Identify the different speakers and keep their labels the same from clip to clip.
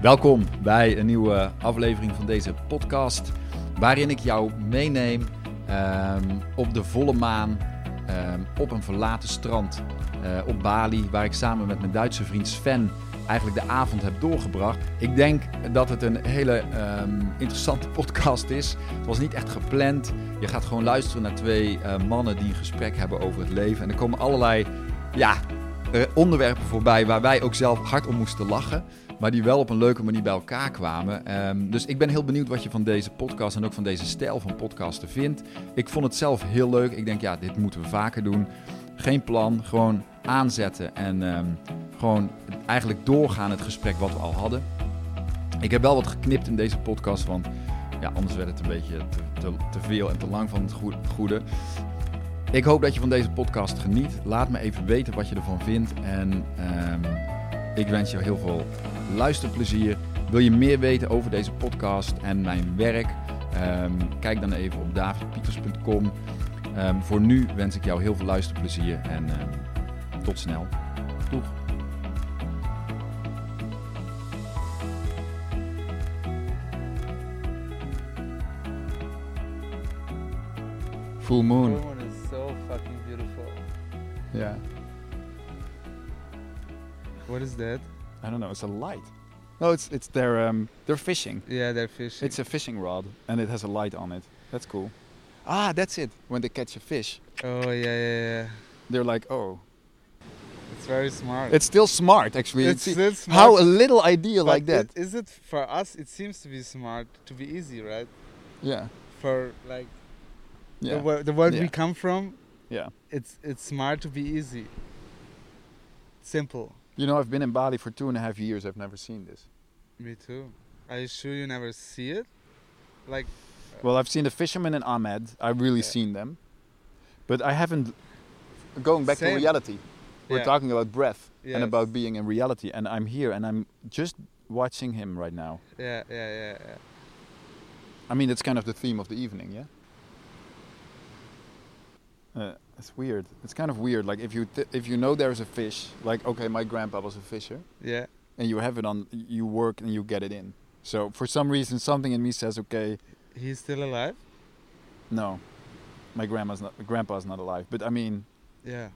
Speaker 1: Welkom bij een nieuwe aflevering van deze podcast, waarin ik jou meeneem ehm, op de volle maan, ehm, op een verlaten strand eh, op Bali, waar ik samen met mijn Duitse vriend Sven eigenlijk de avond heb doorgebracht. Ik denk dat het een hele ehm, interessante podcast is. Het was niet echt gepland. Je gaat gewoon luisteren naar twee eh, mannen die een gesprek hebben over het leven. En er komen allerlei ja, eh, onderwerpen voorbij waar wij ook zelf hard om moesten lachen. Maar die wel op een leuke manier bij elkaar kwamen. Ehm, dus ik ben heel benieuwd wat je van deze podcast en ook van deze stijl van podcasten vindt. Ik vond het zelf heel leuk. Ik denk, ja, dit moeten we vaker doen. Geen plan, gewoon aanzetten en ehm, gewoon eigenlijk doorgaan het gesprek wat we al hadden. Ik heb wel wat geknipt in deze podcast, want ja, anders werd het een beetje te, te, te veel en te lang van het goe- goede. Ik hoop dat je van deze podcast geniet. Laat me even weten wat je ervan vindt. En ehm, ik wens je heel veel luisterplezier. Wil je meer weten over deze podcast en mijn werk? Ehm, kijk dan even op davidpieters.com. Ehm, voor nu wens ik jou heel veel luisterplezier en ehm, tot snel. Doeg! Full moon.
Speaker 2: Moon is so fucking beautiful.
Speaker 1: Yeah.
Speaker 2: What is that?
Speaker 3: I don't know. It's a light. No, it's it's their um they're fishing.
Speaker 2: Yeah, they're fish.
Speaker 3: It's a fishing rod and it has a light on it. That's cool. Ah, that's it. When they catch a fish,
Speaker 2: oh yeah, yeah, yeah.
Speaker 3: they're like, oh,
Speaker 2: It's very smart.
Speaker 3: it's still smart actually.
Speaker 2: it's,
Speaker 3: It's-
Speaker 2: it's smart,
Speaker 3: how a little idea
Speaker 2: but
Speaker 3: like that.
Speaker 2: it- Is it for us? It seems to be smart to be easy, right?
Speaker 3: yeah,
Speaker 2: For like the,
Speaker 3: yeah,
Speaker 2: wor- the world we
Speaker 3: Yeah.
Speaker 2: come from,
Speaker 3: yeah.
Speaker 2: it's it's smart to be easy. Simple.
Speaker 3: You know, I've been in Bali for two and a half years. I've never seen this.
Speaker 2: Me too. Are you sure you never see it? Like
Speaker 3: Well, I've seen the fishermen in Ahmed. I've really
Speaker 2: Yeah.
Speaker 3: seen them, but I haven't. Going back
Speaker 2: Same.
Speaker 3: to reality, we're
Speaker 2: yeah,
Speaker 3: talking about breath
Speaker 2: Yes.
Speaker 3: and about being in reality, and I'm here and I'm just watching him right now.
Speaker 2: Yeah, yeah, yeah, yeah.
Speaker 3: I mean, that's kind of the theme of the evening, yeah. Uh, it's weird. It's kind of weird. Like if you th- if you know there's a fish, like okay, my grandpa was a fisher,
Speaker 2: Yeah.
Speaker 3: and you have it on, you work and you get it in. So for some reason, something in me says, okay,
Speaker 2: He's still alive?
Speaker 3: no, my grandma's not, grandpa's not alive. But I mean,
Speaker 2: Yeah.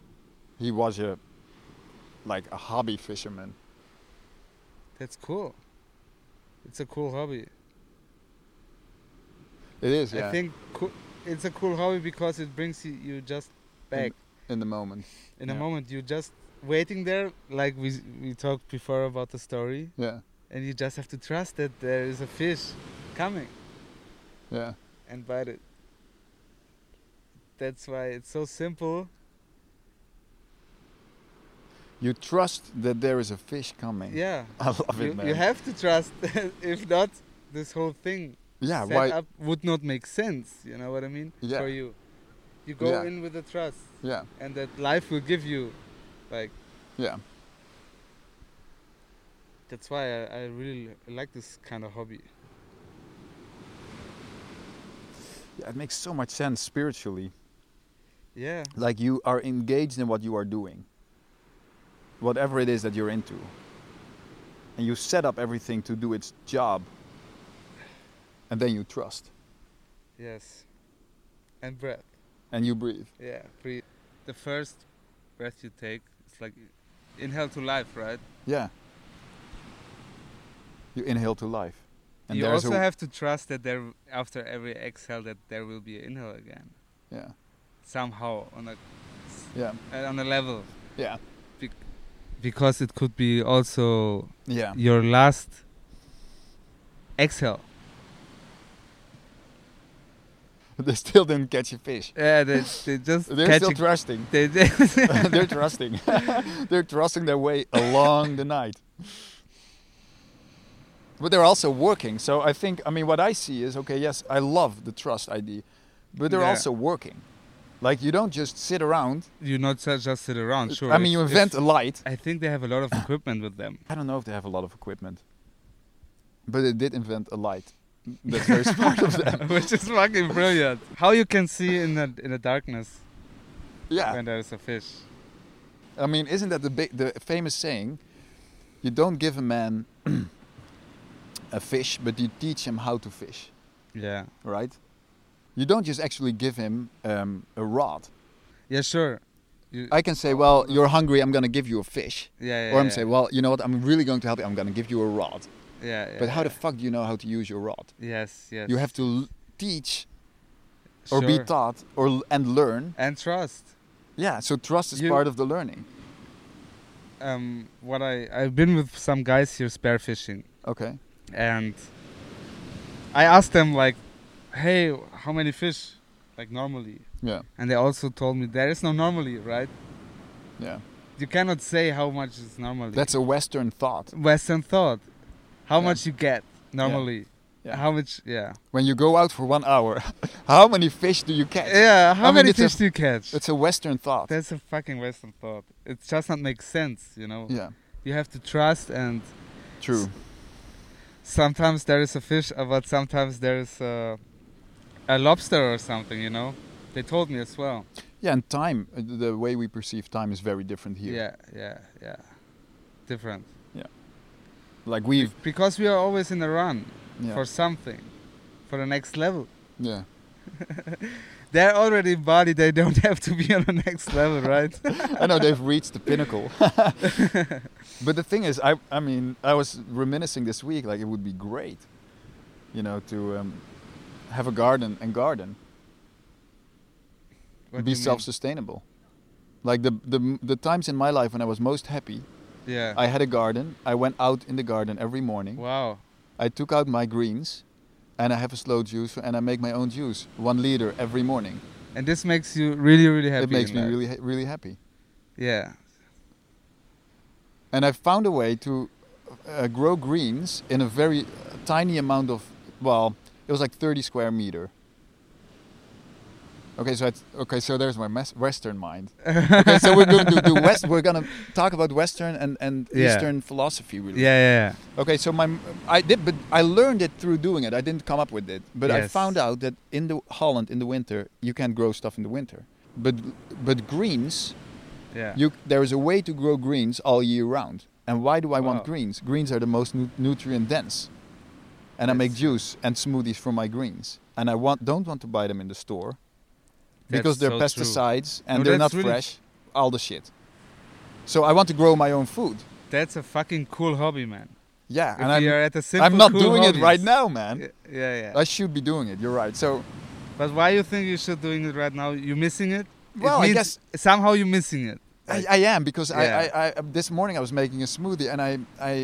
Speaker 3: he was a like a hobby fisherman.
Speaker 2: That's cool. It's a cool hobby.
Speaker 3: It is, yeah.
Speaker 2: I think coo- it's a cool hobby because it brings you, you just back
Speaker 3: in the moment,
Speaker 2: in a
Speaker 3: yeah.
Speaker 2: moment. You just waiting there, like we s- we talked before about the story,
Speaker 3: yeah,
Speaker 2: and you just have to trust that there is a fish coming
Speaker 3: yeah.
Speaker 2: and bite it. That's why it's so simple.
Speaker 3: You trust that there is a fish coming.
Speaker 2: Yeah,
Speaker 3: I love
Speaker 2: you,
Speaker 3: it, man.
Speaker 2: you have to trust. if not, this whole thing
Speaker 3: yeah,
Speaker 2: set
Speaker 3: why?
Speaker 2: up would not make sense. You know what I mean?
Speaker 3: Yeah.
Speaker 2: For you, you go
Speaker 3: Yeah.
Speaker 2: in with the trust,
Speaker 3: Yeah,
Speaker 2: and that life will give you, like.
Speaker 3: yeah.
Speaker 2: That's why I, I really li- like this kind of hobby.
Speaker 3: Yeah, it makes so much sense spiritually.
Speaker 2: Yeah,
Speaker 3: Like you are engaged in what you are doing, whatever it is that you're into. And you set up everything to do its job. And then you trust
Speaker 2: yes. And breath.
Speaker 3: and you breathe.
Speaker 2: Yeah, breathe. The first breath you take, it's like inhale to life, right?
Speaker 3: Yeah. You inhale to life.
Speaker 2: you
Speaker 3: there's
Speaker 2: also
Speaker 3: a,
Speaker 2: have to trust that there, after every exhale, that there will be an inhale again.
Speaker 3: Yeah.
Speaker 2: Somehow, on a, s-
Speaker 3: Yeah.
Speaker 2: uh, on a level.
Speaker 3: Yeah.
Speaker 2: Because it could be also
Speaker 3: Yeah.
Speaker 2: your last exhale.
Speaker 3: they still didn't catch a fish.
Speaker 2: Yeah, they, they just
Speaker 3: They're
Speaker 2: catch
Speaker 3: still
Speaker 2: it-
Speaker 3: trusting.
Speaker 2: they, they
Speaker 3: They're trusting. They're trusting their way along the night. But they're also working. So I think, I mean, what I see is okay, yes, I love the trust idea, but they're
Speaker 2: Yeah.
Speaker 3: also working. Like, you don't just sit around.
Speaker 2: you not ju- just sit around. Sure.
Speaker 3: I mean,
Speaker 2: if-
Speaker 3: you
Speaker 2: if-
Speaker 3: invent a light.
Speaker 2: I think they have a lot of equipment with them.
Speaker 3: I don't know if they have a lot of equipment, but they did invent a light. That's very smart of them.
Speaker 2: Which is fucking brilliant. How you can see in the in the darkness
Speaker 3: Yeah.
Speaker 2: when there is a fish.
Speaker 3: I mean, isn't that the, big, the famous saying? You don't give a man a fish, but you teach him how to fish,
Speaker 2: Yeah.
Speaker 3: right? You don't just actually give him um, a rod.
Speaker 2: Yeah, sure. You,
Speaker 3: I can say, well, you're hungry, I'm going to give you a fish.
Speaker 2: yeah, yeah,
Speaker 3: Or I'm
Speaker 2: yeah.
Speaker 3: say, well, you know what, I'm really going to help you, I'm going to give you a rod.
Speaker 2: yeah, yeah,
Speaker 3: But how the
Speaker 2: yeah.
Speaker 3: fuck do you know how to use your rod?
Speaker 2: Yes, yes.
Speaker 3: You have to l- teach or be
Speaker 2: sure.
Speaker 3: taught or l- and learn.
Speaker 2: and trust.
Speaker 3: Yeah, so trust is
Speaker 2: You-
Speaker 3: part of the learning.
Speaker 2: Um, what I I've been with some guys here spear fishing,
Speaker 3: Okay.
Speaker 2: and I asked them like, "Hey, how many fish?" Like normally,
Speaker 3: Yeah.
Speaker 2: and they also told me there is no normally, right?
Speaker 3: Yeah.
Speaker 2: You cannot say how much is normally.
Speaker 3: That's a Western thought.
Speaker 2: Western thought. How
Speaker 3: Yeah.
Speaker 2: much you get normally?
Speaker 3: Yeah.
Speaker 2: How much? Yeah.
Speaker 3: When you go out for one hour, how many fish do you catch?
Speaker 2: Yeah. How
Speaker 3: I mean,
Speaker 2: many
Speaker 3: it's a-
Speaker 2: fish do you catch?
Speaker 3: It's a Western thought.
Speaker 2: That's a fucking Western thought. It just not make sense, you know.
Speaker 3: yeah,
Speaker 2: You have to trust, and
Speaker 3: true.
Speaker 2: sometimes there is a fish, uh, but sometimes there is a, a lobster or something, you know. They told me as well.
Speaker 3: Yeah, and time, uh, the way we perceive time is very different here.
Speaker 2: Yeah, yeah, yeah. Different.
Speaker 3: Like we've,
Speaker 2: Because we are always in a run
Speaker 3: yeah,
Speaker 2: for something, for the next level.
Speaker 3: yeah.
Speaker 2: They're already body. They don't have to be on the next level, right?
Speaker 3: I know they've reached the pinnacle. but the thing is, I, I mean, I was reminiscing this week, like it would be great, you know, to um, have a garden and garden,
Speaker 2: What do
Speaker 3: be
Speaker 2: you mean?
Speaker 3: self-sustainable. Like the, the the times in my life when I was most happy,
Speaker 2: Yeah.
Speaker 3: I had a garden. I went out in the garden every morning.
Speaker 2: wow.
Speaker 3: I took out my greens and I have a slow juicer and I make my own juice, one liter every morning.
Speaker 2: And this makes you really, really happy.
Speaker 3: it makes
Speaker 2: in
Speaker 3: me
Speaker 2: life.
Speaker 3: really, ha- really happy.
Speaker 2: Yeah.
Speaker 3: And I found a way to uh, grow greens in a very uh, tiny amount of, well, it was like 30 square meter. Okay, so it's, okay, so there's my mes- Western mind. Okay, so we're going to do West. We're going to talk about Western and, and
Speaker 2: Yeah.
Speaker 3: Eastern philosophy,
Speaker 2: Yeah,
Speaker 3: really.
Speaker 2: yeah,
Speaker 3: Okay, so my I did, but I learned it through doing it. I didn't come up with it, but I
Speaker 2: Yes.
Speaker 3: found out that in the Holland in the winter you can't grow stuff in the winter, but but greens
Speaker 2: yeah.
Speaker 3: you there is a way to grow greens all year round. And why do I want
Speaker 2: Wow.
Speaker 3: greens? Greens are the most nu- nutrient dense, and I make
Speaker 2: That's-
Speaker 3: juice and smoothies from my greens. And I want don't want to buy them in the store because
Speaker 2: That's
Speaker 3: they're
Speaker 2: so true.
Speaker 3: pesticides and
Speaker 2: No,
Speaker 3: they're not
Speaker 2: that's really-
Speaker 3: fresh, all the shit. So I want to grow my own food.
Speaker 2: That's a fucking cool hobby, man.
Speaker 3: Yeah,
Speaker 2: If
Speaker 3: and I'm
Speaker 2: we are at a simple,
Speaker 3: I'm not
Speaker 2: cool
Speaker 3: doing it
Speaker 2: hobbies.
Speaker 3: right now, man.
Speaker 2: Yeah, yeah. yeah.
Speaker 3: I should be doing it. You're right. So,
Speaker 2: But why you think you should doing it right now? You missing it? It
Speaker 3: well, I
Speaker 2: means
Speaker 3: guess
Speaker 2: somehow you missing it.
Speaker 3: I, I am because I,
Speaker 2: Yeah.
Speaker 3: I, I, this morning I was making a smoothie and I, I,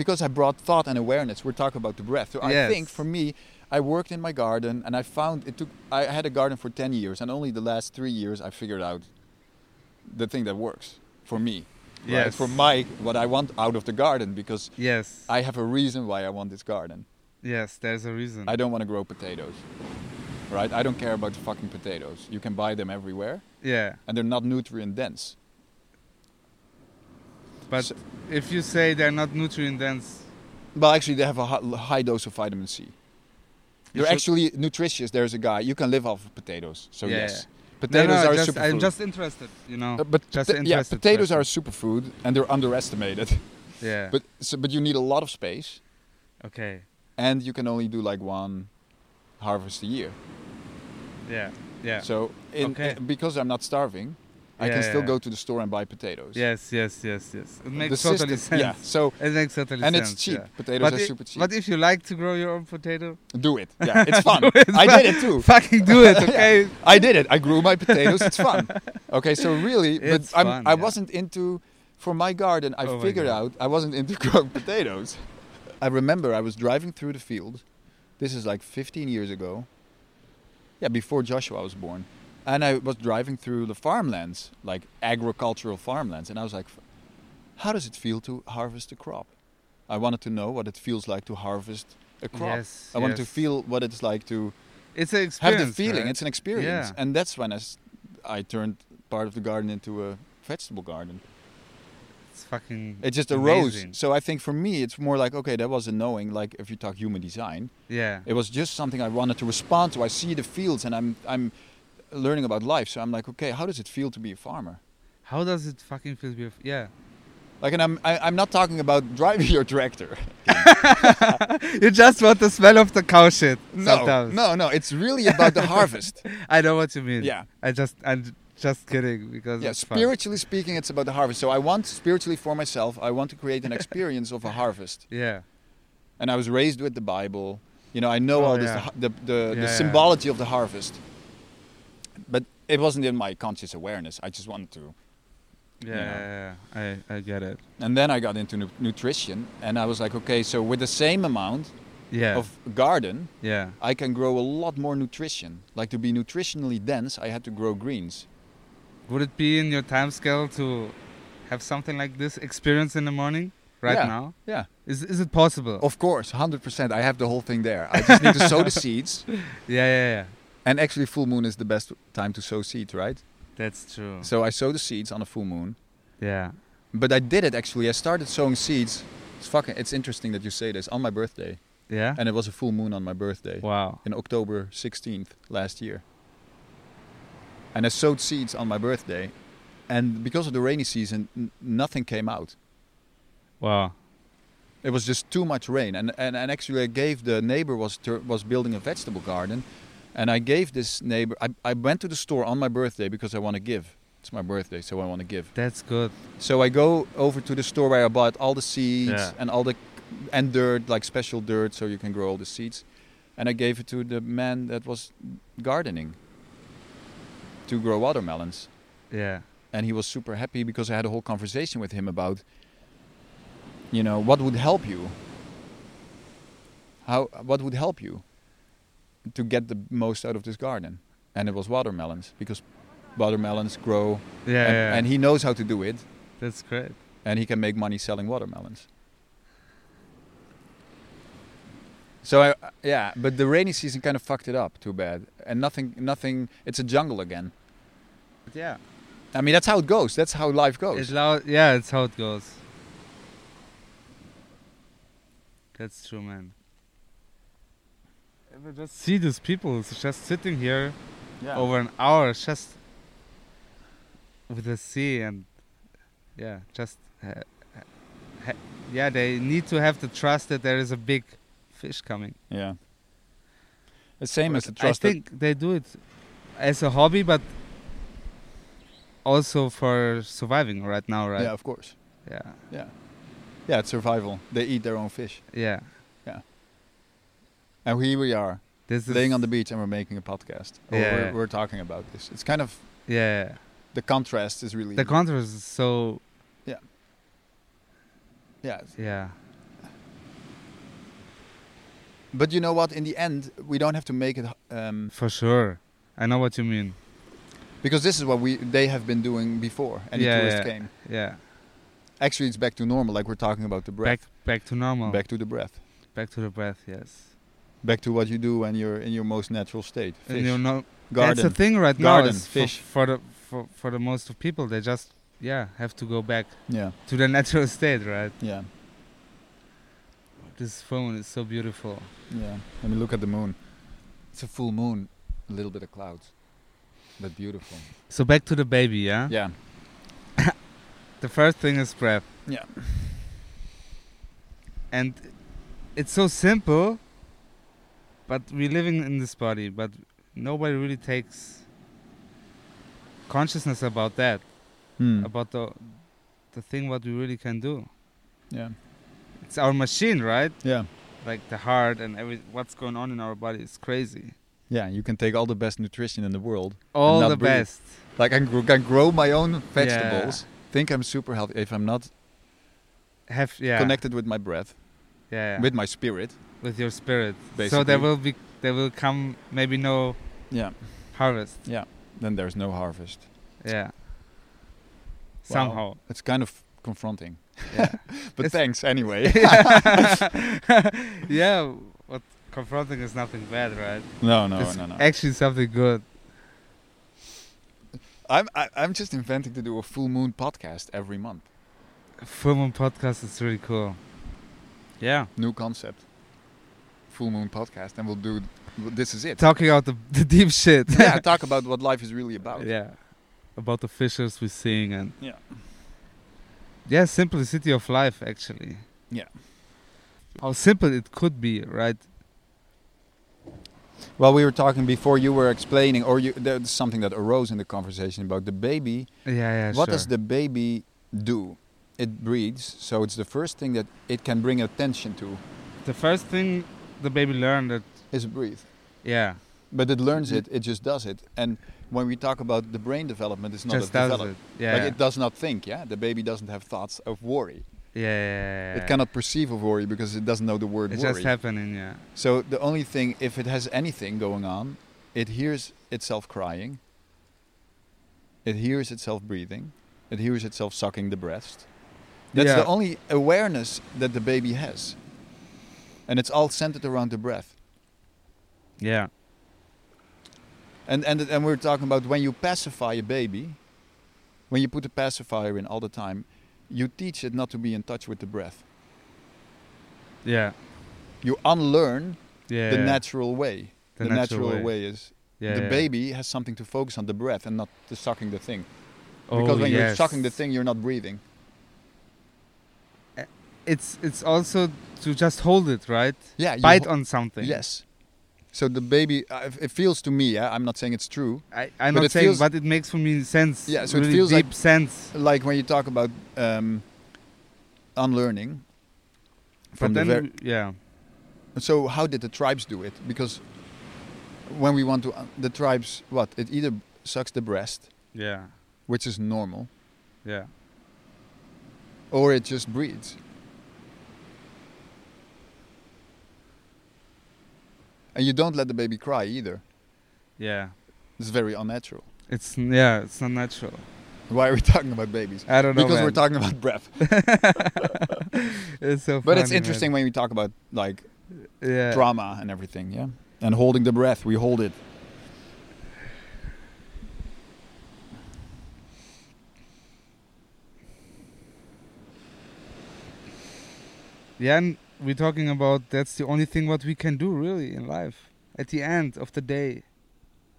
Speaker 3: because I brought thought and awareness. We're talking about the breath. So I
Speaker 2: Yes.
Speaker 3: think for me, I worked in my garden and I found it took. I had a garden for ten years and only the last three years I figured out the thing that works for me. Right?
Speaker 2: Yes.
Speaker 3: For my what I want out of the garden because
Speaker 2: Yes.
Speaker 3: I have a reason why I want this garden.
Speaker 2: yes. There's a reason.
Speaker 3: I don't want to grow potatoes. Right? I don't care about the fucking potatoes. You can buy them everywhere
Speaker 2: yeah.
Speaker 3: and they're not nutrient dense.
Speaker 2: But
Speaker 3: So-
Speaker 2: if you say they're not nutrient dense,
Speaker 3: Well, actually, they have a hi- high dose of vitamin C. They're
Speaker 2: should-
Speaker 3: actually nutritious. There's a guy you can live off of potatoes. So
Speaker 2: Yeah,
Speaker 3: yes,
Speaker 2: no,
Speaker 3: potatoes
Speaker 2: no,
Speaker 3: are
Speaker 2: just,
Speaker 3: a superfood.
Speaker 2: I'm just interested. You know.
Speaker 3: Uh, but
Speaker 2: just
Speaker 3: pota-
Speaker 2: an
Speaker 3: yeah,
Speaker 2: interested
Speaker 3: potatoes are a superfood, and they're underestimated.
Speaker 2: yeah.
Speaker 3: But so, but you need a lot of space,
Speaker 2: okay.
Speaker 3: and you can only do like one harvest a year.
Speaker 2: Yeah. Yeah.
Speaker 3: So in,
Speaker 2: Okay.
Speaker 3: uh, because I'm not starving, I can
Speaker 2: Yeah,
Speaker 3: still
Speaker 2: yeah.
Speaker 3: go to the store and buy potatoes.
Speaker 2: yes. Yes. Yes. Yes. It
Speaker 3: the
Speaker 2: makes totally
Speaker 3: system- Yeah.
Speaker 2: sense.
Speaker 3: So
Speaker 2: It makes totally
Speaker 3: and
Speaker 2: sense.
Speaker 3: it's cheap.
Speaker 2: yeah.
Speaker 3: Potatoes
Speaker 2: But
Speaker 3: are
Speaker 2: i-
Speaker 3: super cheap.
Speaker 2: But if you like to grow your own potato,
Speaker 3: do it. Yeah, it's fun.
Speaker 2: It's
Speaker 3: I
Speaker 2: fun.
Speaker 3: did it too.
Speaker 2: Fucking do it,
Speaker 3: Yeah.
Speaker 2: okay?
Speaker 3: I did it. I grew my potatoes. It's fun. Okay, so really, but
Speaker 2: It's
Speaker 3: I'm,
Speaker 2: fun,
Speaker 3: I
Speaker 2: yeah.
Speaker 3: wasn't into for my garden. I
Speaker 2: Oh my
Speaker 3: figured
Speaker 2: God.
Speaker 3: out I wasn't into growing potatoes. I remember I was driving through the field. This is like 15 years ago. Yeah, before Joshua was born, and I was driving through the farmlands, like agricultural farmlands, and I was like, "How does it feel to harvest a crop?" I wanted to know what it feels like to harvest a crop.
Speaker 2: Yes,
Speaker 3: I wanted to
Speaker 2: yes.
Speaker 3: feel what it's like to
Speaker 2: It's an
Speaker 3: have
Speaker 2: experience.
Speaker 3: the feeling.
Speaker 2: right?
Speaker 3: It's an experience,
Speaker 2: Yeah.
Speaker 3: and that's when I, s- I turned part of the garden into a vegetable garden.
Speaker 2: It's fucking.
Speaker 3: It just arose.
Speaker 2: amazing.
Speaker 3: So I think for me, it's more like okay, that was a knowing. Like if you talk human design,
Speaker 2: Yeah.
Speaker 3: it was just something I wanted to respond to. I see the fields, and I'm I'm learning about life. So I'm like, okay, how does it feel to be a farmer?
Speaker 2: How does it fucking feel? to be a f- Yeah.
Speaker 3: Like, and I'm I, I'm not talking about driving your tractor.
Speaker 2: you just want the smell of the cow shit.
Speaker 3: No,
Speaker 2: sometimes.
Speaker 3: no, no. It's really about the harvest.
Speaker 2: I know what you mean.
Speaker 3: Yeah.
Speaker 2: I just I'm just kidding because
Speaker 3: Yeah,
Speaker 2: it's fun.
Speaker 3: spiritually speaking, it's about the harvest. So I want spiritually for myself. I want to create an experience of a harvest.
Speaker 2: Yeah.
Speaker 3: And I was raised with the Bible. You know, I know
Speaker 2: Oh,
Speaker 3: all this
Speaker 2: yeah.
Speaker 3: the the, the
Speaker 2: Yeah, yeah.
Speaker 3: symbology of the harvest. But it wasn't in my conscious awareness. I just wanted to.
Speaker 2: Yeah,
Speaker 3: know.
Speaker 2: yeah, yeah. I I get it.
Speaker 3: And then I got into nu- nutrition, and I was like, okay, so with the same amount
Speaker 2: Yeah.
Speaker 3: of garden,
Speaker 2: yeah.
Speaker 3: I can grow a lot more nutrition. Like to be nutritionally dense, I had to grow greens.
Speaker 2: Would it be in your time scale to have something like this experience in the morning right
Speaker 3: Yeah. Oh.
Speaker 2: now?
Speaker 3: Yeah,
Speaker 2: Is is it possible?
Speaker 3: of course, hundred percent. I have the whole thing there. I just need to sow the seeds.
Speaker 2: Yeah, yeah, yeah.
Speaker 3: And actually, full moon is the best time to sow seeds, right?
Speaker 2: That's true.
Speaker 3: So I sow the seeds on a full moon.
Speaker 2: yeah.
Speaker 3: But I did it actually. I started sowing seeds. It's fucking. It's interesting that you say this on my birthday,
Speaker 2: Yeah.
Speaker 3: and it was a full moon on my birthday.
Speaker 2: wow.
Speaker 3: in October 16th last year. And I sowed seeds on my birthday. And because of the rainy season, n- nothing came out.
Speaker 2: Wow.
Speaker 3: It was just too much rain. And, and, and actually, I gave the neighbor was, tur was building a vegetable garden. And I gave this neighbor, I, I went to the store on my birthday because I want to give. It's my birthday, so I want to give.
Speaker 2: That's good.
Speaker 3: So I go over to the store where I bought all the seeds
Speaker 2: Yeah.
Speaker 3: and all the and dirt, like special dirt, so you can grow all the seeds. And I gave it to the man that was gardening to grow watermelons,
Speaker 2: Yeah.
Speaker 3: and he was super happy because I had a whole conversation with him about, you know, what would help you. How what would help you to get the most out of this garden? And it was watermelons because watermelons grow,
Speaker 2: Yeah.
Speaker 3: and,
Speaker 2: yeah.
Speaker 3: and he knows how to do it
Speaker 2: That's great.
Speaker 3: and he can make money selling watermelons. So I, yeah, but the rainy season kind of fucked it up. Too bad, and nothing, nothing. It's a jungle again.
Speaker 2: Yeah.
Speaker 3: I mean, that's how it goes. That's how life
Speaker 2: It's
Speaker 3: goes.
Speaker 2: loud. Yeah, it's how it goes. That's true, man. Ever just see these people s- just sitting here over an hour, just with the sea and yeah, just ha- ha- ha- yeah, they need to have the trust that there is a big fish coming.
Speaker 3: Yeah. The same as the
Speaker 2: But
Speaker 3: trust.
Speaker 2: I
Speaker 3: that-
Speaker 2: think they do it as a hobby, but also for surviving right now, right?
Speaker 3: Yeah, of course.
Speaker 2: yeah.
Speaker 3: Yeah, it's survival. They eat their own fish,
Speaker 2: yeah.
Speaker 3: and here we are,
Speaker 2: This is
Speaker 3: laying on the beach, and we're making a podcast. Or
Speaker 2: Yeah.
Speaker 3: we're, we're talking about this. It's kind of
Speaker 2: yeah.
Speaker 3: the contrast is really
Speaker 2: The contrast is so
Speaker 3: yeah. it's-
Speaker 2: yeah
Speaker 3: But you know what? In the end, we don't have to make it um,
Speaker 2: for sure. I know what you mean.
Speaker 3: because this is what we they have been doing before any
Speaker 2: Yeah,
Speaker 3: tourist
Speaker 2: yeah.
Speaker 3: came
Speaker 2: Yeah,
Speaker 3: actually it's back to normal like we're talking about the breath
Speaker 2: back back to normal.
Speaker 3: back to the breath
Speaker 2: back to the breath. Yes.
Speaker 3: back to what you do when you're in your most natural state
Speaker 2: And
Speaker 3: fish
Speaker 2: you know
Speaker 3: garden
Speaker 2: that's the thing right now.
Speaker 3: Garden,
Speaker 2: Is for,
Speaker 3: fish.
Speaker 2: for the for, for the most of people, they just yeah have to go back
Speaker 3: yeah
Speaker 2: to the natural state, right?
Speaker 3: yeah
Speaker 2: This phone is so beautiful.
Speaker 3: yeah let me look at the moon it's a full moon a little bit of clouds but beautiful
Speaker 2: So back to the baby, yeah.
Speaker 3: yeah
Speaker 2: The first thing is breath.
Speaker 3: Yeah.
Speaker 2: And it's so simple, but we're living in this body, but nobody really takes consciousness about that,
Speaker 3: Hmm.
Speaker 2: about the the thing what we really can do.
Speaker 3: yeah
Speaker 2: It's our machine, right?
Speaker 3: yeah
Speaker 2: Like the heart and every what's going on in our body is crazy.
Speaker 3: yeah you can take all the best nutrition in the world
Speaker 2: All
Speaker 3: not
Speaker 2: the
Speaker 3: breathe.
Speaker 2: best.
Speaker 3: like i can grow, can grow my own vegetables think i'm super healthy if i'm not
Speaker 2: Have yeah.
Speaker 3: connected with my breath
Speaker 2: yeah, yeah.
Speaker 3: with my spirit
Speaker 2: with your spirit. So
Speaker 3: Basically.
Speaker 2: there will be there will come maybe no
Speaker 3: yeah
Speaker 2: harvest.
Speaker 3: then there's no harvest
Speaker 2: Yeah. Somehow.
Speaker 3: It's kind of confronting.
Speaker 2: Yeah.
Speaker 3: But
Speaker 2: It's-
Speaker 3: thanks anyway.
Speaker 2: yeah, what confronting is nothing bad, right?
Speaker 3: no, no,
Speaker 2: It's
Speaker 3: no, no.
Speaker 2: Actually something good.
Speaker 3: I'm I, I'm just inventing to do a full moon podcast every month.
Speaker 2: Full Moon Podcast is really cool. Yeah.
Speaker 3: New concept. Full moon podcast, and we'll do. This is it.
Speaker 2: Talking out the, the deep shit.
Speaker 3: yeah, talk about what life is really about.
Speaker 2: yeah. About the fishes we're seeing and
Speaker 3: Yeah.
Speaker 2: Yeah, simplicity of life, actually.
Speaker 3: Yeah.
Speaker 2: How simple it could be, right?
Speaker 3: Well, we were talking before you were explaining, or you, there's something that arose in the conversation about the baby.
Speaker 2: Yeah, yeah.
Speaker 3: what
Speaker 2: sure.
Speaker 3: does the baby do? It breathes, so it's the first thing that it can bring attention to
Speaker 2: the first thing the baby learned that
Speaker 3: is breathe.
Speaker 2: yeah
Speaker 3: But it
Speaker 2: Mm-hmm.
Speaker 3: learns it, it just does it. And when we talk about the brain development, it's not
Speaker 2: just
Speaker 3: a
Speaker 2: does
Speaker 3: develop-
Speaker 2: it yeah
Speaker 3: Like it does not think, yeah? The baby doesn't have thoughts of worry.
Speaker 2: yeah, yeah, yeah, yeah.
Speaker 3: It cannot perceive of worry because it doesn't know the word
Speaker 2: it's
Speaker 3: worry.
Speaker 2: just happening yeah
Speaker 3: So the only thing, if it has anything going on, it hears itself crying. It hears itself breathing. It hears itself sucking the breast. That's
Speaker 2: Yeah.
Speaker 3: the only awareness that the baby has. And it's all centered around the breath.
Speaker 2: yeah
Speaker 3: And, and, and we're talking about when you pacify a baby, when you put a pacifier in all the time, you teach it not to be in touch with the breath.
Speaker 2: yeah
Speaker 3: You unlearn
Speaker 2: yeah
Speaker 3: the
Speaker 2: yeah.
Speaker 3: natural way. The, natural, way. is
Speaker 2: yeah,
Speaker 3: the
Speaker 2: yeah.
Speaker 3: baby has something to focus on the breath and not the sucking the thing.
Speaker 2: oh,
Speaker 3: because when you're
Speaker 2: yes.
Speaker 3: sucking the thing, you're not breathing.
Speaker 2: it's it's also to just hold it right
Speaker 3: Yeah, you
Speaker 2: bite
Speaker 3: ho-
Speaker 2: on something
Speaker 3: Yes. So the baby, uh, it feels to me. Yeah, I'm not saying it's true.
Speaker 2: I, i'm
Speaker 3: But
Speaker 2: not
Speaker 3: it
Speaker 2: saying
Speaker 3: feels-
Speaker 2: but it makes for me sense
Speaker 3: Yeah, so it
Speaker 2: really
Speaker 3: feels
Speaker 2: deep
Speaker 3: like-
Speaker 2: sense
Speaker 3: Like when you talk about um, unlearning.
Speaker 2: but
Speaker 3: From the
Speaker 2: then
Speaker 3: ver-
Speaker 2: yeah
Speaker 3: so how did the tribes do it? Because when we want to, un- the tribes, what it either sucks the breast,
Speaker 2: yeah
Speaker 3: which is normal,
Speaker 2: yeah
Speaker 3: or it just breeds. And you don't let the baby cry either.
Speaker 2: yeah
Speaker 3: It's very unnatural.
Speaker 2: it's yeah it's not natural
Speaker 3: Why are we talking about babies?
Speaker 2: i don't know
Speaker 3: because we're
Speaker 2: man.
Speaker 3: talking about breath.
Speaker 2: it's so
Speaker 3: But it's
Speaker 2: funny, man.
Speaker 3: interesting when we talk about like
Speaker 2: yeah
Speaker 3: trauma and everything, yeah? And holding the breath, we hold it.
Speaker 2: Yeah, and we're talking about that's the only thing what we can do really in life. At the end of the day,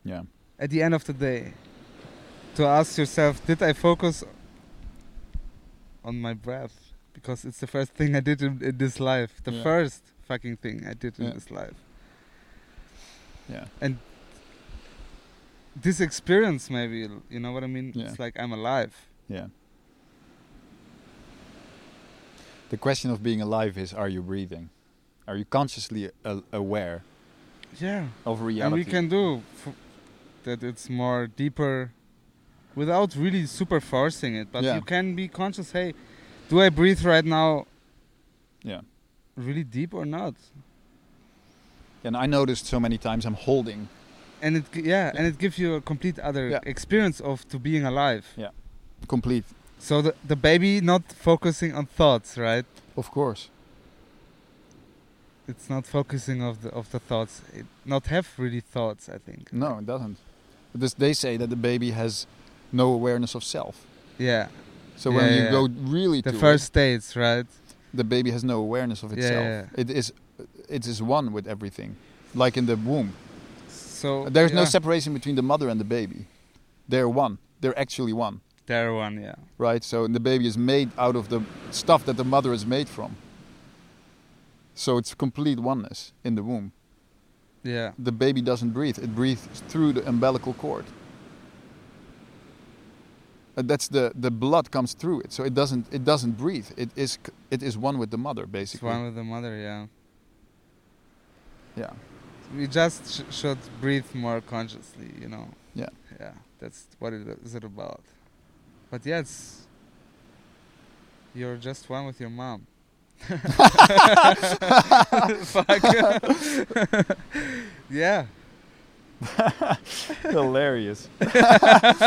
Speaker 3: Yeah.
Speaker 2: at the end of the day, to ask yourself, did I focus on my breath? Because it's the first thing I did in, in this life, the
Speaker 3: Yeah.
Speaker 2: first fucking thing I did in
Speaker 3: Yeah.
Speaker 2: this life.
Speaker 3: Yeah.
Speaker 2: This experience, maybe, l- you know what I mean?
Speaker 3: Yeah.
Speaker 2: It's like I'm alive.
Speaker 3: Yeah. The question of being alive is are you breathing? Are you consciously a- aware
Speaker 2: Yeah,
Speaker 3: of reality?
Speaker 2: and we can do f- that. It's more deeper, without really super forcing it. But
Speaker 3: Yeah.
Speaker 2: you can be conscious. Hey, do I breathe right now?
Speaker 3: Yeah.
Speaker 2: Really deep or not?
Speaker 3: And I noticed so many times I'm holding.
Speaker 2: And it, g- yeah, and it gives you a complete other
Speaker 3: Yeah.
Speaker 2: experience of to being alive.
Speaker 3: Complete.
Speaker 2: So the the baby not focusing on thoughts, right?
Speaker 3: Of course.
Speaker 2: It's not focusing of the of the thoughts. It not have really thoughts. I think.
Speaker 3: No, it doesn't. Because they say that the baby has no awareness of self.
Speaker 2: Yeah.
Speaker 3: So when
Speaker 2: Yeah,
Speaker 3: you
Speaker 2: yeah.
Speaker 3: go really
Speaker 2: The
Speaker 3: to it,
Speaker 2: first states, right?
Speaker 3: the baby has no awareness of
Speaker 2: Yeah,
Speaker 3: itself.
Speaker 2: yeah.
Speaker 3: It is it is one with everything. Like in the womb.
Speaker 2: So
Speaker 3: There's no
Speaker 2: yeah.
Speaker 3: separation between the mother and the baby. They're one. They're actually one,
Speaker 2: There one, yeah.
Speaker 3: right? So the baby is made out of the stuff that the mother is made from. So it's complete oneness in the womb.
Speaker 2: Yeah.
Speaker 3: The baby doesn't breathe. It breathes through the umbilical cord. And that's the the blood comes through it. So it doesn't it doesn't breathe. It is c- it is one with the mother
Speaker 2: It's
Speaker 3: basically.
Speaker 2: one with the mother, yeah.
Speaker 3: Yeah.
Speaker 2: we just sh- should breathe more consciously you know
Speaker 3: Yeah.
Speaker 2: yeah that's what it is it about but yeah it's you're just one with your mom fuck yeah
Speaker 3: hilarious.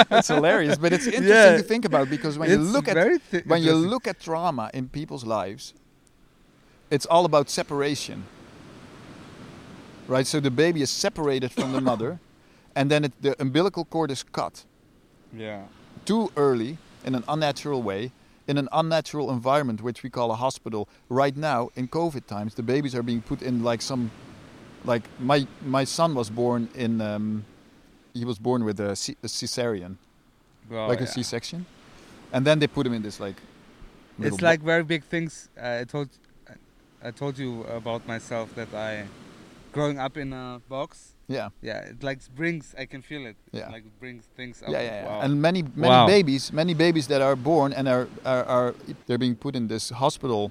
Speaker 3: That's hilarious, but it's interesting
Speaker 2: Yeah.
Speaker 3: to think about because when you
Speaker 2: It's
Speaker 3: look at
Speaker 2: very thi-
Speaker 3: when you
Speaker 2: interesting.
Speaker 3: look at trauma in people's lives, it's all about separation. Right? So the baby is separated from the mother, and then it, the umbilical cord is cut
Speaker 2: yeah
Speaker 3: too early in an unnatural way, in an unnatural environment, which we call a hospital. Right now, in COVID times, the babies are being put in like some, like my my son was born in, um, he was born with a, c- a cesarean,
Speaker 2: well,
Speaker 3: like a
Speaker 2: Oh, yeah.
Speaker 3: C-section, and then they put him in this like
Speaker 2: it's like very big things. I told, I told you about myself that I, growing up in a box.
Speaker 3: yeah,
Speaker 2: Yeah, it like brings. I can feel it.
Speaker 3: Yeah.
Speaker 2: like brings things up.
Speaker 3: yeah, yeah, yeah.
Speaker 2: Wow.
Speaker 3: And many many
Speaker 2: Wow.
Speaker 3: babies, many babies that are born and are, are are they're being put in this hospital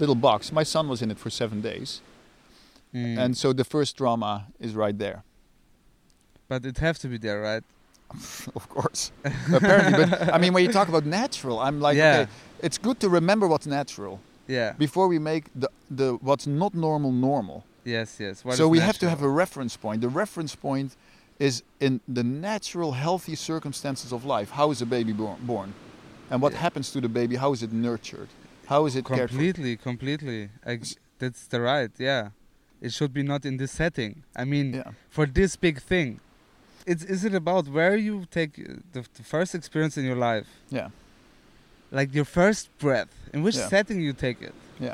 Speaker 3: little box. My son was in it for seven days,
Speaker 2: Mm.
Speaker 3: and so the first trauma is right there.
Speaker 2: but it have to be there, right?
Speaker 3: of course. Apparently, but I mean, when you talk about natural, I'm like,
Speaker 2: Yeah.
Speaker 3: okay, it's good to remember what's natural
Speaker 2: Yeah.
Speaker 3: before we make the the what's not normal normal.
Speaker 2: yes, yes. What
Speaker 3: so
Speaker 2: is
Speaker 3: we have to have a
Speaker 2: natural?
Speaker 3: reference point. The reference point is in the natural, healthy circumstances of life. How is a baby born? born? And what
Speaker 2: Yeah.
Speaker 3: happens to the baby? How is it nurtured? How is it cared for?
Speaker 2: completely, completely. I g that's the right. Yeah, it should be not in this setting. I mean,
Speaker 3: Yeah.
Speaker 2: for this big thing, it's is it about where you take uh, the, the first experience in your life,
Speaker 3: Yeah.
Speaker 2: like your first breath, in which
Speaker 3: Yeah.
Speaker 2: setting you take it.
Speaker 3: Yeah.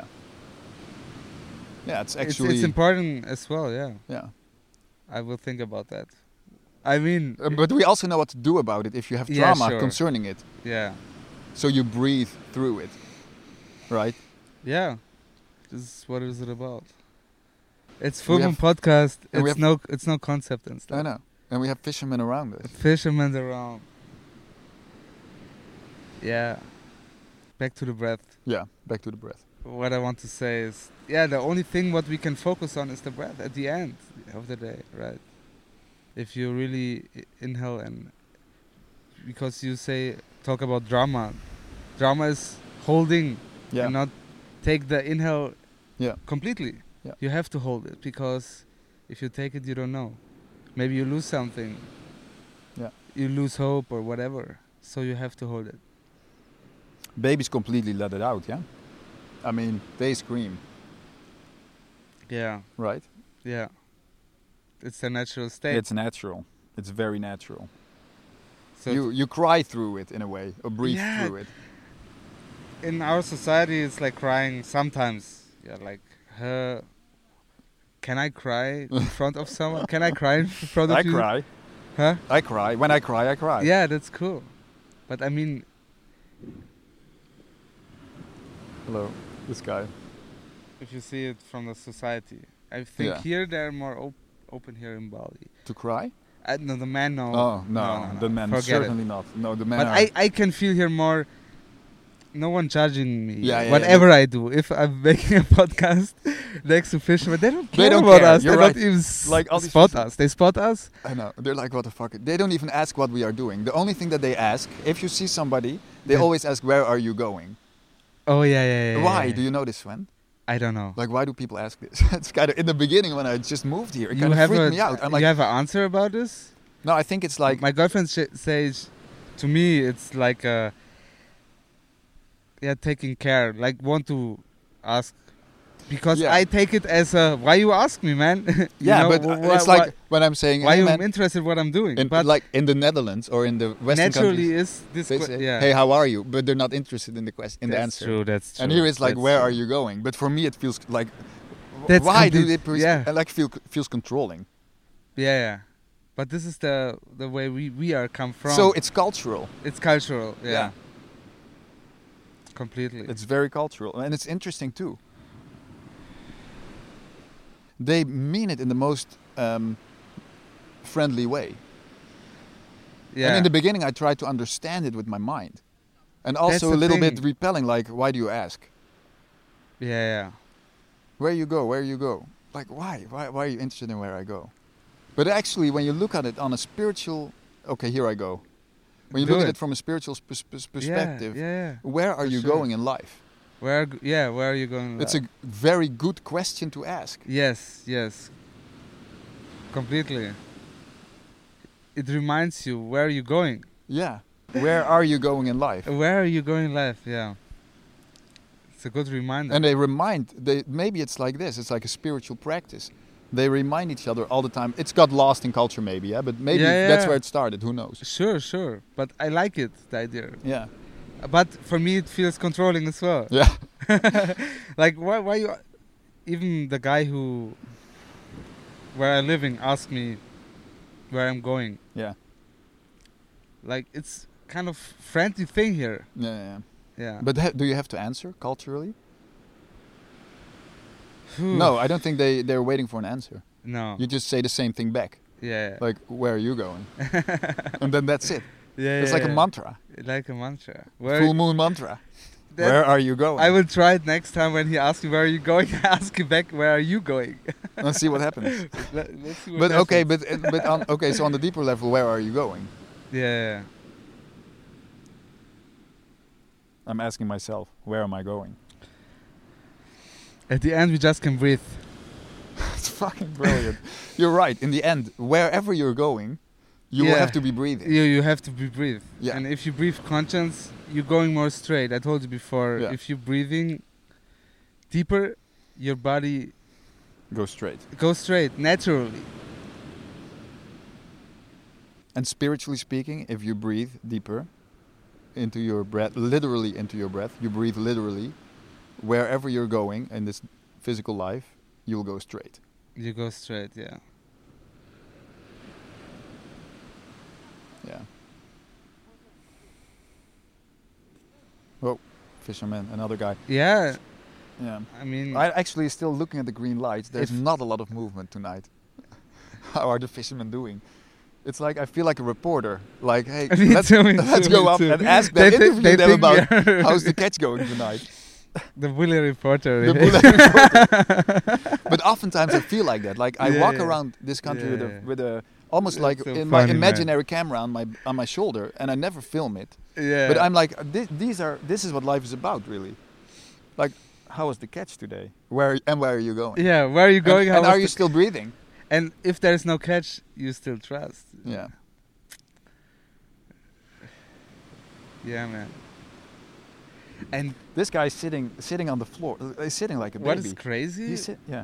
Speaker 3: Yeah, it's
Speaker 2: It's-
Speaker 3: actually
Speaker 2: it's, important as well. Yeah,
Speaker 3: yeah.
Speaker 2: I will think about that. I mean,
Speaker 3: Uh, But we also know what to do about it if you have
Speaker 2: Yeah,
Speaker 3: trauma
Speaker 2: sure.
Speaker 3: concerning it.
Speaker 2: yeah,
Speaker 3: So you breathe through it, right?
Speaker 2: yeah. This is what is it about? It's
Speaker 3: We
Speaker 2: full
Speaker 3: have-
Speaker 2: podcast.
Speaker 3: and we
Speaker 2: It's
Speaker 3: have-
Speaker 2: no, it's no concept and stuff.
Speaker 3: I know. And we have fishermen around us.
Speaker 2: Fishermen around. Yeah. Back to the breath.
Speaker 3: Yeah, back to the breath.
Speaker 2: What I want to say is, yeah, the only thing what we can focus on is the breath at the end of the day, right? If you really i- inhale and because you say talk about drama, drama is holding
Speaker 3: Yeah.
Speaker 2: and not take the inhale
Speaker 3: Yeah.
Speaker 2: completely.
Speaker 3: Yeah.
Speaker 2: You have to hold it because if you take it, you don't know. Maybe you lose something.
Speaker 3: Yeah.
Speaker 2: You lose hope or whatever. So you have to hold it.
Speaker 3: Babies completely let it out, yeah? I mean, they scream,
Speaker 2: Yeah.
Speaker 3: right?
Speaker 2: Yeah. It's a natural state.
Speaker 3: It's natural. It's very natural.
Speaker 2: so
Speaker 3: you you cry through it in a way, or breathe
Speaker 2: Yeah.
Speaker 3: through it.
Speaker 2: in our society, it's like crying sometimes. Yeah, like, uh, can I cry in front of someone? Can I cry in front of
Speaker 3: I
Speaker 2: you?
Speaker 3: cry.
Speaker 2: Huh?
Speaker 3: I cry. When I cry, I cry.
Speaker 2: Yeah, that's cool. But I mean,
Speaker 3: Hello, this guy.
Speaker 2: if you see it from the society. I think
Speaker 3: Yeah.
Speaker 2: here they're more op- open here in Bali.
Speaker 3: To cry?
Speaker 2: I, no, the men no.
Speaker 3: oh, no, the men
Speaker 2: Forget
Speaker 3: certainly
Speaker 2: it.
Speaker 3: not. No, the men
Speaker 2: But
Speaker 3: are.
Speaker 2: I, I can feel here more. No one judging me.
Speaker 3: Yeah, yeah, yeah,
Speaker 2: Whatever I do, if I'm making a podcast next to fishermen, they don't
Speaker 3: They
Speaker 2: care
Speaker 3: don't
Speaker 2: about
Speaker 3: care,
Speaker 2: us.
Speaker 3: you're
Speaker 2: they
Speaker 3: right.
Speaker 2: don't even s-
Speaker 3: Like all these
Speaker 2: spot
Speaker 3: fishermen.
Speaker 2: us. They spot us.
Speaker 3: I know. They're like, what the fuck? They don't even ask what we are doing. The only thing that they ask, if you see somebody, they
Speaker 2: Yeah.
Speaker 3: always ask, where are you going?
Speaker 2: Oh yeah, yeah, yeah.
Speaker 3: Why?
Speaker 2: yeah,
Speaker 3: Do you know this, Sven?
Speaker 2: I don't know.
Speaker 3: Like, why do people ask this? it's kind of in the beginning when I just moved here. It
Speaker 2: you
Speaker 3: kind of
Speaker 2: have
Speaker 3: freaked
Speaker 2: a
Speaker 3: me out. I'm like,
Speaker 2: you have an answer about this?
Speaker 3: no, I think it's like,
Speaker 2: my girlfriend sh- says to me it's like uh yeah taking care like want to ask because
Speaker 3: Yeah.
Speaker 2: i take it as a why you ask me man You
Speaker 3: yeah,
Speaker 2: know,
Speaker 3: but
Speaker 2: wh-
Speaker 3: uh, it's
Speaker 2: why-
Speaker 3: like when I'm saying,
Speaker 2: why, why
Speaker 3: hey,
Speaker 2: you
Speaker 3: man,
Speaker 2: interested what i'm doing
Speaker 3: in,
Speaker 2: but
Speaker 3: like in the Netherlands or in the Western
Speaker 2: naturally
Speaker 3: countries,
Speaker 2: is this
Speaker 3: they
Speaker 2: que-
Speaker 3: say,
Speaker 2: yeah
Speaker 3: hey, how are you? But they're not interested in the question, in the
Speaker 2: That's
Speaker 3: answer.
Speaker 2: true, that's true
Speaker 3: And here it's like,
Speaker 2: that's
Speaker 3: where
Speaker 2: true.
Speaker 3: are you going? But for me, it feels like, w-
Speaker 2: That's
Speaker 3: why do
Speaker 2: complete-
Speaker 3: they pers-
Speaker 2: yeah.
Speaker 3: uh, like feel feels controlling?
Speaker 2: yeah yeah but this is the the way we we are come from
Speaker 3: So it's cultural.
Speaker 2: it's cultural yeah,
Speaker 3: Yeah.
Speaker 2: completely
Speaker 3: It's very cultural, and it's interesting too. They mean it in the most um, friendly way.
Speaker 2: yeah
Speaker 3: And in the beginning, I tried to understand it with my mind, and also a
Speaker 2: the
Speaker 3: little bit
Speaker 2: thing.
Speaker 3: repelling. Like, why do you ask?
Speaker 2: yeah yeah
Speaker 3: Where you go? Where you go? Like, why? Why? Why are you interested in where I go? But actually, when you look at it on a spiritual, okay, here I go. When you
Speaker 2: Do
Speaker 3: look at
Speaker 2: it.
Speaker 3: it from a spiritual pers- pers-
Speaker 2: Yeah,
Speaker 3: perspective,
Speaker 2: yeah, yeah.
Speaker 3: where are
Speaker 2: For
Speaker 3: you
Speaker 2: sure.
Speaker 3: going in life?
Speaker 2: Where, g- yeah, where are you going?
Speaker 3: It's
Speaker 2: li-
Speaker 3: a g- very good question to ask.
Speaker 2: Yes, yes. Completely. It reminds you where are you going?
Speaker 3: Yeah. Where are you going in life?
Speaker 2: Where are you going in life? Yeah. It's a good reminder.
Speaker 3: And they remind they maybe it's like this, it's like a spiritual practice. They remind each other all the time. It's got lost in culture maybe, yeah, but maybe
Speaker 2: Yeah,
Speaker 3: that's
Speaker 2: yeah.
Speaker 3: where it started, who knows.
Speaker 2: sure, sure. But I like it, the idea.
Speaker 3: Yeah.
Speaker 2: But for me, it feels controlling as well.
Speaker 3: Yeah.
Speaker 2: like why why you even the guy who where I'm living asked me where I'm going.
Speaker 3: Yeah.
Speaker 2: Like it's kind of friendly thing here.
Speaker 3: Yeah, yeah.
Speaker 2: Yeah.
Speaker 3: But ha- do you have to answer culturally?
Speaker 2: Mm.
Speaker 3: No, I don't think they, they're waiting for an answer.
Speaker 2: No.
Speaker 3: You just say the same thing back.
Speaker 2: Oh. yeah.
Speaker 3: Like, where are you going?
Speaker 2: yeah,
Speaker 3: And then that's it.
Speaker 2: yeah.
Speaker 3: It's like a
Speaker 2: yeah.
Speaker 3: mantra.
Speaker 2: Like a mantra. Where
Speaker 3: Full moon mantra.
Speaker 2: that-
Speaker 3: where are you going?
Speaker 2: I will try it next time when he asks me where are you going. I ask him back where are you going.
Speaker 3: Let's see what happens.
Speaker 2: Let, us see what
Speaker 3: but okay,
Speaker 2: happens.
Speaker 3: but uh, but on, okay. So on the deeper level, where are you going?
Speaker 2: yeah,
Speaker 3: I'm asking myself, where am I going?
Speaker 2: at the end we just can breathe.
Speaker 3: it's fucking brilliant. you're right. In the end, wherever you're going, you will
Speaker 2: Yeah.
Speaker 3: have to be breathing.
Speaker 2: You you have to be breathe.
Speaker 3: Yeah.
Speaker 2: And if you breathe conscience, you're going more straight. I told you before.
Speaker 3: Yeah.
Speaker 2: If you're breathing deeper, your body
Speaker 3: Go straight.
Speaker 2: goes straight naturally.
Speaker 3: And spiritually speaking, if you breathe deeper into your breath, literally into your breath, you breathe literally, wherever you're going in this physical life, you'll go straight.
Speaker 2: You go straight. Yeah.
Speaker 3: Yeah. Whoa, Oh, fisherman, another guy.
Speaker 2: Yeah.
Speaker 3: Yeah.
Speaker 2: I mean.
Speaker 3: I actually still looking at the green lights. There's
Speaker 2: If-
Speaker 3: not a lot of movement tonight. How are the fishermen doing? It's like I feel like a reporter. Like, hey,
Speaker 2: Me
Speaker 3: let's,
Speaker 2: too, me
Speaker 3: let's
Speaker 2: too,
Speaker 3: go
Speaker 2: me
Speaker 3: up
Speaker 2: too.
Speaker 3: and ask
Speaker 2: They
Speaker 3: them,
Speaker 2: thi-
Speaker 3: interview
Speaker 2: they
Speaker 3: them
Speaker 2: think we
Speaker 3: about
Speaker 2: are-
Speaker 3: how's the catch going tonight.
Speaker 2: the bully reporter.
Speaker 3: The
Speaker 2: really.
Speaker 3: bullet reporter. but oftentimes I feel like that. Like I
Speaker 2: Yeah,
Speaker 3: walk
Speaker 2: yeah.
Speaker 3: around this country with a
Speaker 2: Yeah.
Speaker 3: with a almost like
Speaker 2: That's so
Speaker 3: in
Speaker 2: funny,
Speaker 3: my
Speaker 2: man.
Speaker 3: imaginary camera on my on my shoulder, and I never film it.
Speaker 2: yeah.
Speaker 3: But I'm like, this, these are this is what life is about, really. Like, how was the catch today? Where and where are you going?
Speaker 2: Yeah. Where are you
Speaker 3: And-
Speaker 2: going?
Speaker 3: And, are
Speaker 2: How was
Speaker 3: you
Speaker 2: the-
Speaker 3: still breathing?
Speaker 2: and if there's no catch, you still trust.
Speaker 3: Yeah.
Speaker 2: Yeah, man. And
Speaker 3: This guy's sitting sitting on the floor. uh, He's sitting like a
Speaker 2: what
Speaker 3: baby.
Speaker 2: is crazy?
Speaker 3: He's sit- yeah.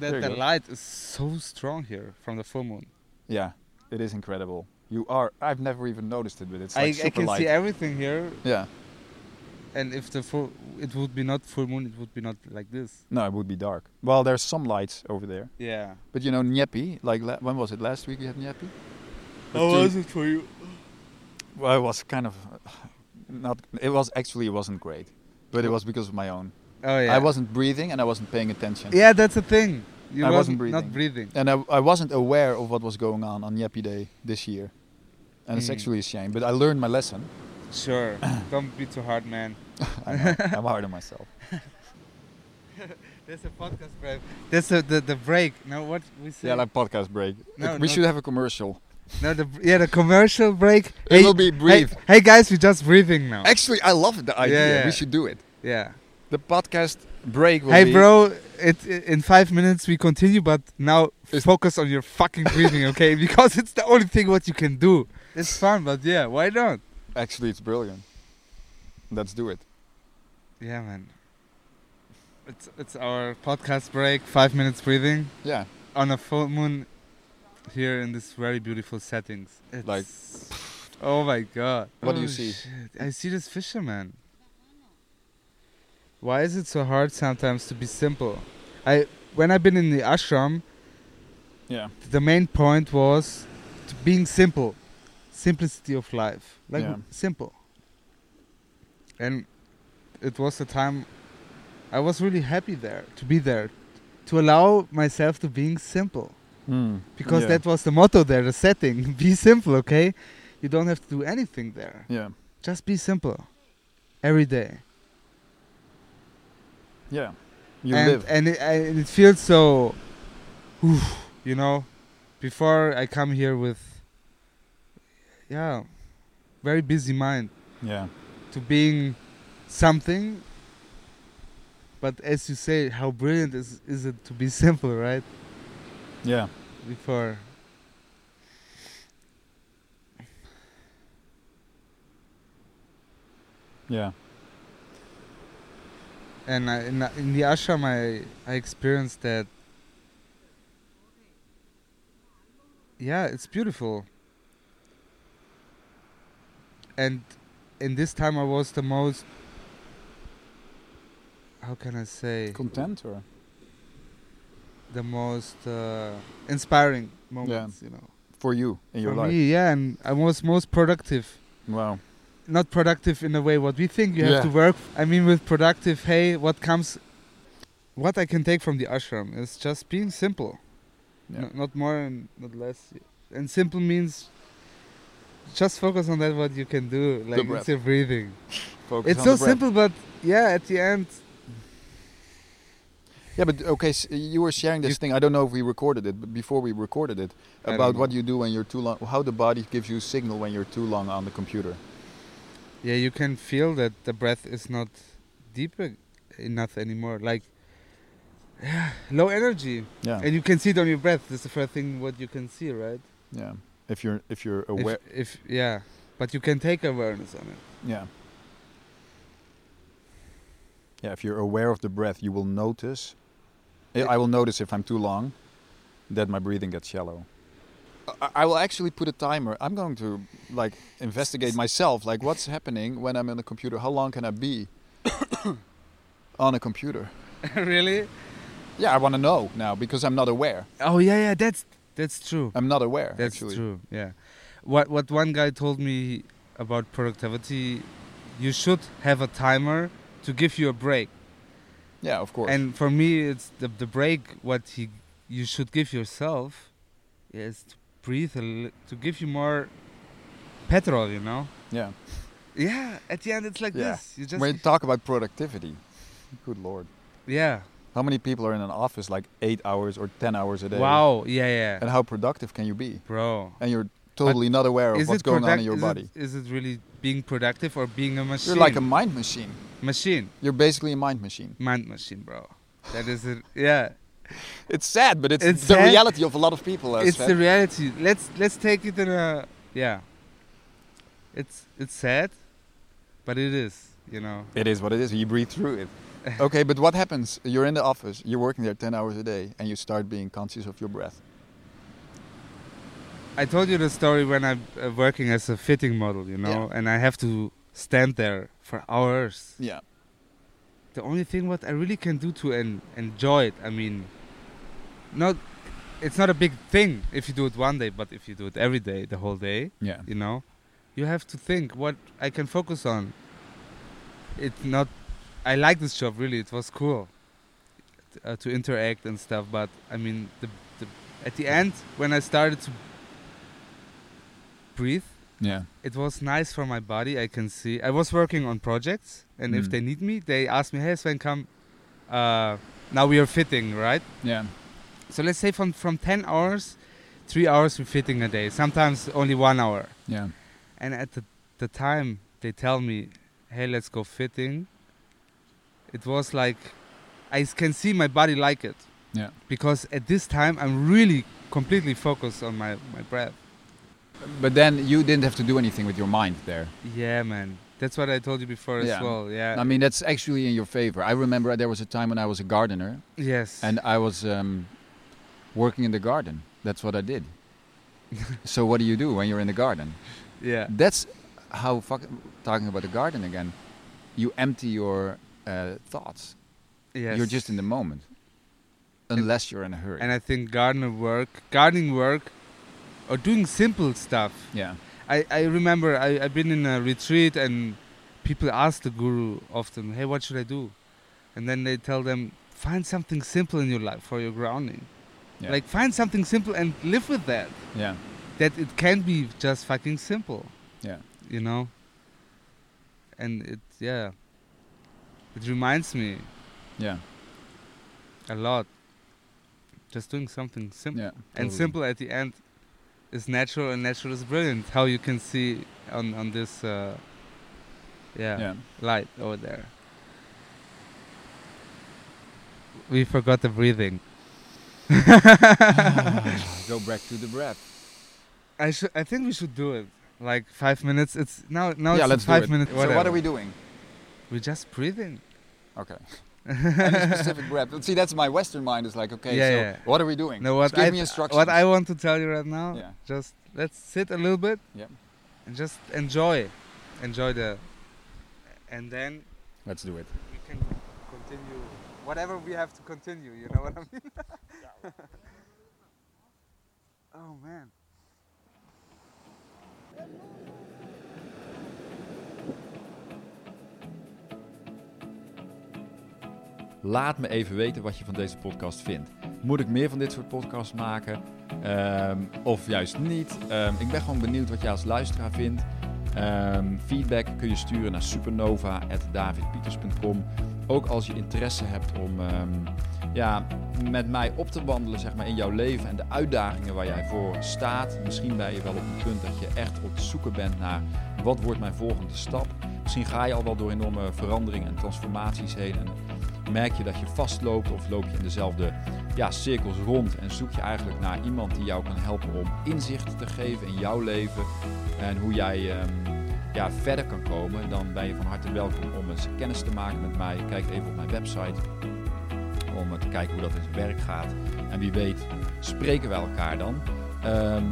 Speaker 3: There
Speaker 2: that
Speaker 3: you
Speaker 2: the
Speaker 3: go.
Speaker 2: light is so strong here from the full moon.
Speaker 3: Yeah. It is incredible. You are. I've never even noticed it, but it's
Speaker 2: I,
Speaker 3: like
Speaker 2: I
Speaker 3: super
Speaker 2: can
Speaker 3: light.
Speaker 2: see everything here,
Speaker 3: yeah.
Speaker 2: and if the full, it would be not full moon, it would be not like this.
Speaker 3: No, it would be dark. Well, there's some lights over there.
Speaker 2: Yeah.
Speaker 3: But you know, Nyepi, like la- when was it? Last week you had Nyepi?
Speaker 2: it for you?
Speaker 3: Well, it was kind of not. It was actually it wasn't great, but it was because of my own.
Speaker 2: Oh yeah.
Speaker 3: I wasn't breathing and I wasn't paying attention.
Speaker 2: Yeah, that's the thing. You
Speaker 3: I wasn't
Speaker 2: wasn't not breathing.
Speaker 3: And I, I wasn't aware of what was going on on Nyepi Day this year, and it's
Speaker 2: Mm.
Speaker 3: actually a shame. But I learned my lesson.
Speaker 2: Sure. Don't be too hard, man.
Speaker 3: I know, I'm hard on myself.
Speaker 2: That's a podcast break. That's the the, the break. No, what we say?
Speaker 3: Yeah, like podcast break.
Speaker 2: No,
Speaker 3: we
Speaker 2: not-
Speaker 3: should have a commercial.
Speaker 2: no, the yeah the commercial break.
Speaker 3: It will be breathe.
Speaker 2: Hey, hey guys, we're just breathing now.
Speaker 3: Actually, I love the idea.
Speaker 2: yeah.
Speaker 3: We should do it.
Speaker 2: yeah.
Speaker 3: The podcast break will
Speaker 2: Hey
Speaker 3: be
Speaker 2: bro, it in five minutes we continue, but now focus on your fucking breathing, okay? Because it's the only thing what you can do. It's fun, but yeah, why not?
Speaker 3: Actually, it's brilliant. Let's do it.
Speaker 2: Yeah, man. It's it's our podcast break, five minutes breathing
Speaker 3: Yeah.
Speaker 2: on a full moon here in this very beautiful settings. It's
Speaker 3: Like-
Speaker 2: oh my god!
Speaker 3: What do you
Speaker 2: Oh,
Speaker 3: see?
Speaker 2: shit. I see this fisherman. Why is it so hard sometimes to be simple? I when I've been in the ashram,
Speaker 3: Yeah.
Speaker 2: the main point was t- being simple simplicity of life like
Speaker 3: Yeah.
Speaker 2: simple and it was a time i was really happy there to be there to allow myself to being simple because
Speaker 3: yeah.
Speaker 2: that was the motto there the setting be simple okay you don't have to do anything there
Speaker 3: Yeah.
Speaker 2: just be simple every day
Speaker 3: Yeah. You
Speaker 2: and,
Speaker 3: live.
Speaker 2: and it, I- and it feels so, oof, you know. Before I come here with, yeah, very busy mind
Speaker 3: yeah.
Speaker 2: to being something. But as you say, how brilliant is is it to be simple, right?
Speaker 3: Yeah.
Speaker 2: Before.
Speaker 3: Yeah.
Speaker 2: and I, in, in the ashram I, I experienced that yeah it's beautiful and in this time i was the most how can i say
Speaker 3: Content or?
Speaker 2: the most uh, inspiring moments you know
Speaker 3: For you in your
Speaker 2: for
Speaker 3: life.
Speaker 2: me yeah and i was most productive
Speaker 3: Wow.
Speaker 2: not productive in the way what we think you have
Speaker 3: Yeah.
Speaker 2: to work. I mean, with productive, hey, what comes, what I can take from the ashram is just being simple,
Speaker 3: Yeah.
Speaker 2: No- not more and not less. And simple means just focus on that what you can do, like
Speaker 3: breath.
Speaker 2: it's your breathing.
Speaker 3: Focus
Speaker 2: it's
Speaker 3: on
Speaker 2: so
Speaker 3: the breath.
Speaker 2: simple, but yeah, at the end,
Speaker 3: Yeah, but okay, s you were sharing this
Speaker 2: You-
Speaker 3: thing. I don't know if we recorded it, but before we recorded it,
Speaker 2: don't
Speaker 3: about
Speaker 2: know.
Speaker 3: what you do when you're too long, how the body gives you signal when you're too long on the computer.
Speaker 2: yeah, you can feel that the breath is not deep e- enough anymore. Like, yeah, low energy.
Speaker 3: Yeah,
Speaker 2: And you can see it on your breath. That's the first thing what you can see, right?
Speaker 3: yeah. If you're if you're
Speaker 2: If-
Speaker 3: aware,
Speaker 2: If, yeah, but you can take awareness on it.
Speaker 3: yeah, yeah. If you're aware of the breath, you will notice. I- I will notice if I'm too long, that my breathing gets shallow. I- I will actually put a timer. I'm going to like investigate myself, like what's happening when I'm on the computer. How long can I be on a computer?
Speaker 2: really?
Speaker 3: Yeah, I want to know now because I'm not aware.
Speaker 2: Oh yeah, yeah. That's that's true.
Speaker 3: I'm not aware.
Speaker 2: That's
Speaker 3: actually.
Speaker 2: true. Yeah. What what one guy told me about productivity, you should have a timer to give you a break.
Speaker 3: Yeah, of course.
Speaker 2: And for me, it's the the break what he you should give yourself is to breathe a li- to give you more petrol. You know.
Speaker 3: yeah.
Speaker 2: Yeah. At the end, it's like
Speaker 3: Yeah.
Speaker 2: this. You just
Speaker 3: when you talk about productivity, good lord,
Speaker 2: yeah.
Speaker 3: how many people are in an office like eight hours or ten hours a day?
Speaker 2: Wow. Yeah. Yeah.
Speaker 3: And how productive can you be?
Speaker 2: Bro.
Speaker 3: And you're totally not aware of what's going on
Speaker 2: product-
Speaker 3: in your
Speaker 2: is
Speaker 3: body.
Speaker 2: It, is it really being productive or being a machine?
Speaker 3: You're like a mind machine.
Speaker 2: machine,
Speaker 3: You're basically a mind machine.
Speaker 2: mind machine, bro. That is it. Yeah,
Speaker 3: It's sad, but it's,
Speaker 2: It's
Speaker 3: the
Speaker 2: sad.
Speaker 3: reality of a lot of people.
Speaker 2: it's
Speaker 3: Sven.
Speaker 2: the reality. Let's let's take it in a yeah. It's it's sad, but it is. You know.
Speaker 3: It is what it is. You breathe through it. okay, but what happens? You're in the office. You're working there ten hours a day, and you start being conscious of your breath.
Speaker 2: I told you the story when I'm uh, working as a fitting model. You know, and I have to stand there for hours.
Speaker 3: Yeah.
Speaker 2: the only thing what I really can do to en- enjoy it. I mean, not it's not a big thing if you do it one day, but if you do it every day, the whole day,
Speaker 3: Yeah.
Speaker 2: you know, you have to think what I can focus on. It's not. I like this job really. It was cool t- uh, to interact and stuff, but I mean, the, the at the end when I started to breathe
Speaker 3: Yeah.
Speaker 2: it was nice for my body. I can see. I was working on projects, and if
Speaker 3: Mm.
Speaker 2: they need me, they ask me, "Hey, Sven, come." Uh, now we are fitting, right?
Speaker 3: Yeah.
Speaker 2: So let's say from from ten hours, three hours we fitting a day. Sometimes only one hour.
Speaker 3: Yeah.
Speaker 2: And at the, the time they tell me, "Hey, let's go fitting." It was like, I s- can see my body like it.
Speaker 3: Yeah.
Speaker 2: Because at this time I'm really completely focused on my my breath.
Speaker 3: But then you didn't have to do anything with your mind there.
Speaker 2: Yeah, man. That's what I told you before
Speaker 3: Yeah.
Speaker 2: as well. Yeah.
Speaker 3: I mean, that's actually in your favor. I remember there was a time when I was a gardener
Speaker 2: yes.
Speaker 3: and I was um, working in the garden. That's what I did. so what do you do when you're in the garden?
Speaker 2: Yeah.
Speaker 3: That's how fuck, talking about the garden again. You empty your uh, thoughts.
Speaker 2: Yes.
Speaker 3: You're just in the moment, unless you're in a hurry.
Speaker 2: And I think gardener work, gardening work, or doing simple stuff.
Speaker 3: yeah,
Speaker 2: I, I remember I, I've been in a retreat and people ask the guru often, hey, what should I do? And then they tell them, find something simple in your life for your grounding.
Speaker 3: Yeah.
Speaker 2: Like, find something simple and live with that.
Speaker 3: yeah,
Speaker 2: That it can be just fucking simple,
Speaker 3: yeah.
Speaker 2: you know? And it, yeah. It reminds me
Speaker 3: Yeah,
Speaker 2: a lot. Just doing something simple.
Speaker 3: yeah,
Speaker 2: and
Speaker 3: totally.
Speaker 2: simple at the end is natural and natural is brilliant how you can see on on this uh, yeah,
Speaker 3: Yeah,
Speaker 2: light over there we forgot the breathing
Speaker 3: go back to the breath.
Speaker 2: i should i think we should do it like five minutes it's now now
Speaker 3: yeah,
Speaker 2: it's
Speaker 3: let's do
Speaker 2: five
Speaker 3: it.
Speaker 2: minutes
Speaker 3: So what are we doing?
Speaker 2: we're just breathing
Speaker 3: Okay. Any specific breath. But See, that's my Western mind is like, okay,
Speaker 2: Yeah,
Speaker 3: so
Speaker 2: yeah.
Speaker 3: what are we doing?
Speaker 2: no what
Speaker 3: Just give
Speaker 2: I,
Speaker 3: me instructions.
Speaker 2: what i want to tell you right now
Speaker 3: Yeah.
Speaker 2: just let's sit a little bit
Speaker 3: Yeah.
Speaker 2: and just enjoy enjoy the and then
Speaker 3: Let's do it.
Speaker 2: we can continue whatever we have to continue you know what i mean oh man
Speaker 3: Laat me even weten wat je van deze podcast vindt. Moet ik meer van dit soort podcasts maken? Ehm, of juist niet? Ehm, ik ben gewoon benieuwd wat jij als luisteraar vindt. Ehm, feedback kun je sturen naar supernova.davidpieters.com. Ook als je interesse hebt om ehm, ja, met mij op te wandelen zeg maar, in jouw leven en de uitdagingen waar jij voor staat. Misschien ben je wel op een punt dat je echt op het zoeken bent naar wat wordt mijn volgende stap. Misschien ga je al wel door enorme veranderingen en transformaties heen en merk je dat je vastloopt of loop je in dezelfde ja, cirkels rond en zoek je eigenlijk naar iemand die jou kan helpen om inzicht te geven in jouw leven en hoe jij ehm, ja, verder kan komen, dan ben je van harte welkom om eens kennis te maken met mij. Kijk even op mijn website om eh, te kijken hoe dat in zijn werk gaat. En wie weet spreken we elkaar dan. Ehm,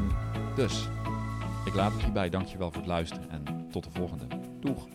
Speaker 3: dus, ik laat het hierbij. Dankjewel voor het luisteren en tot de volgende. Doeg!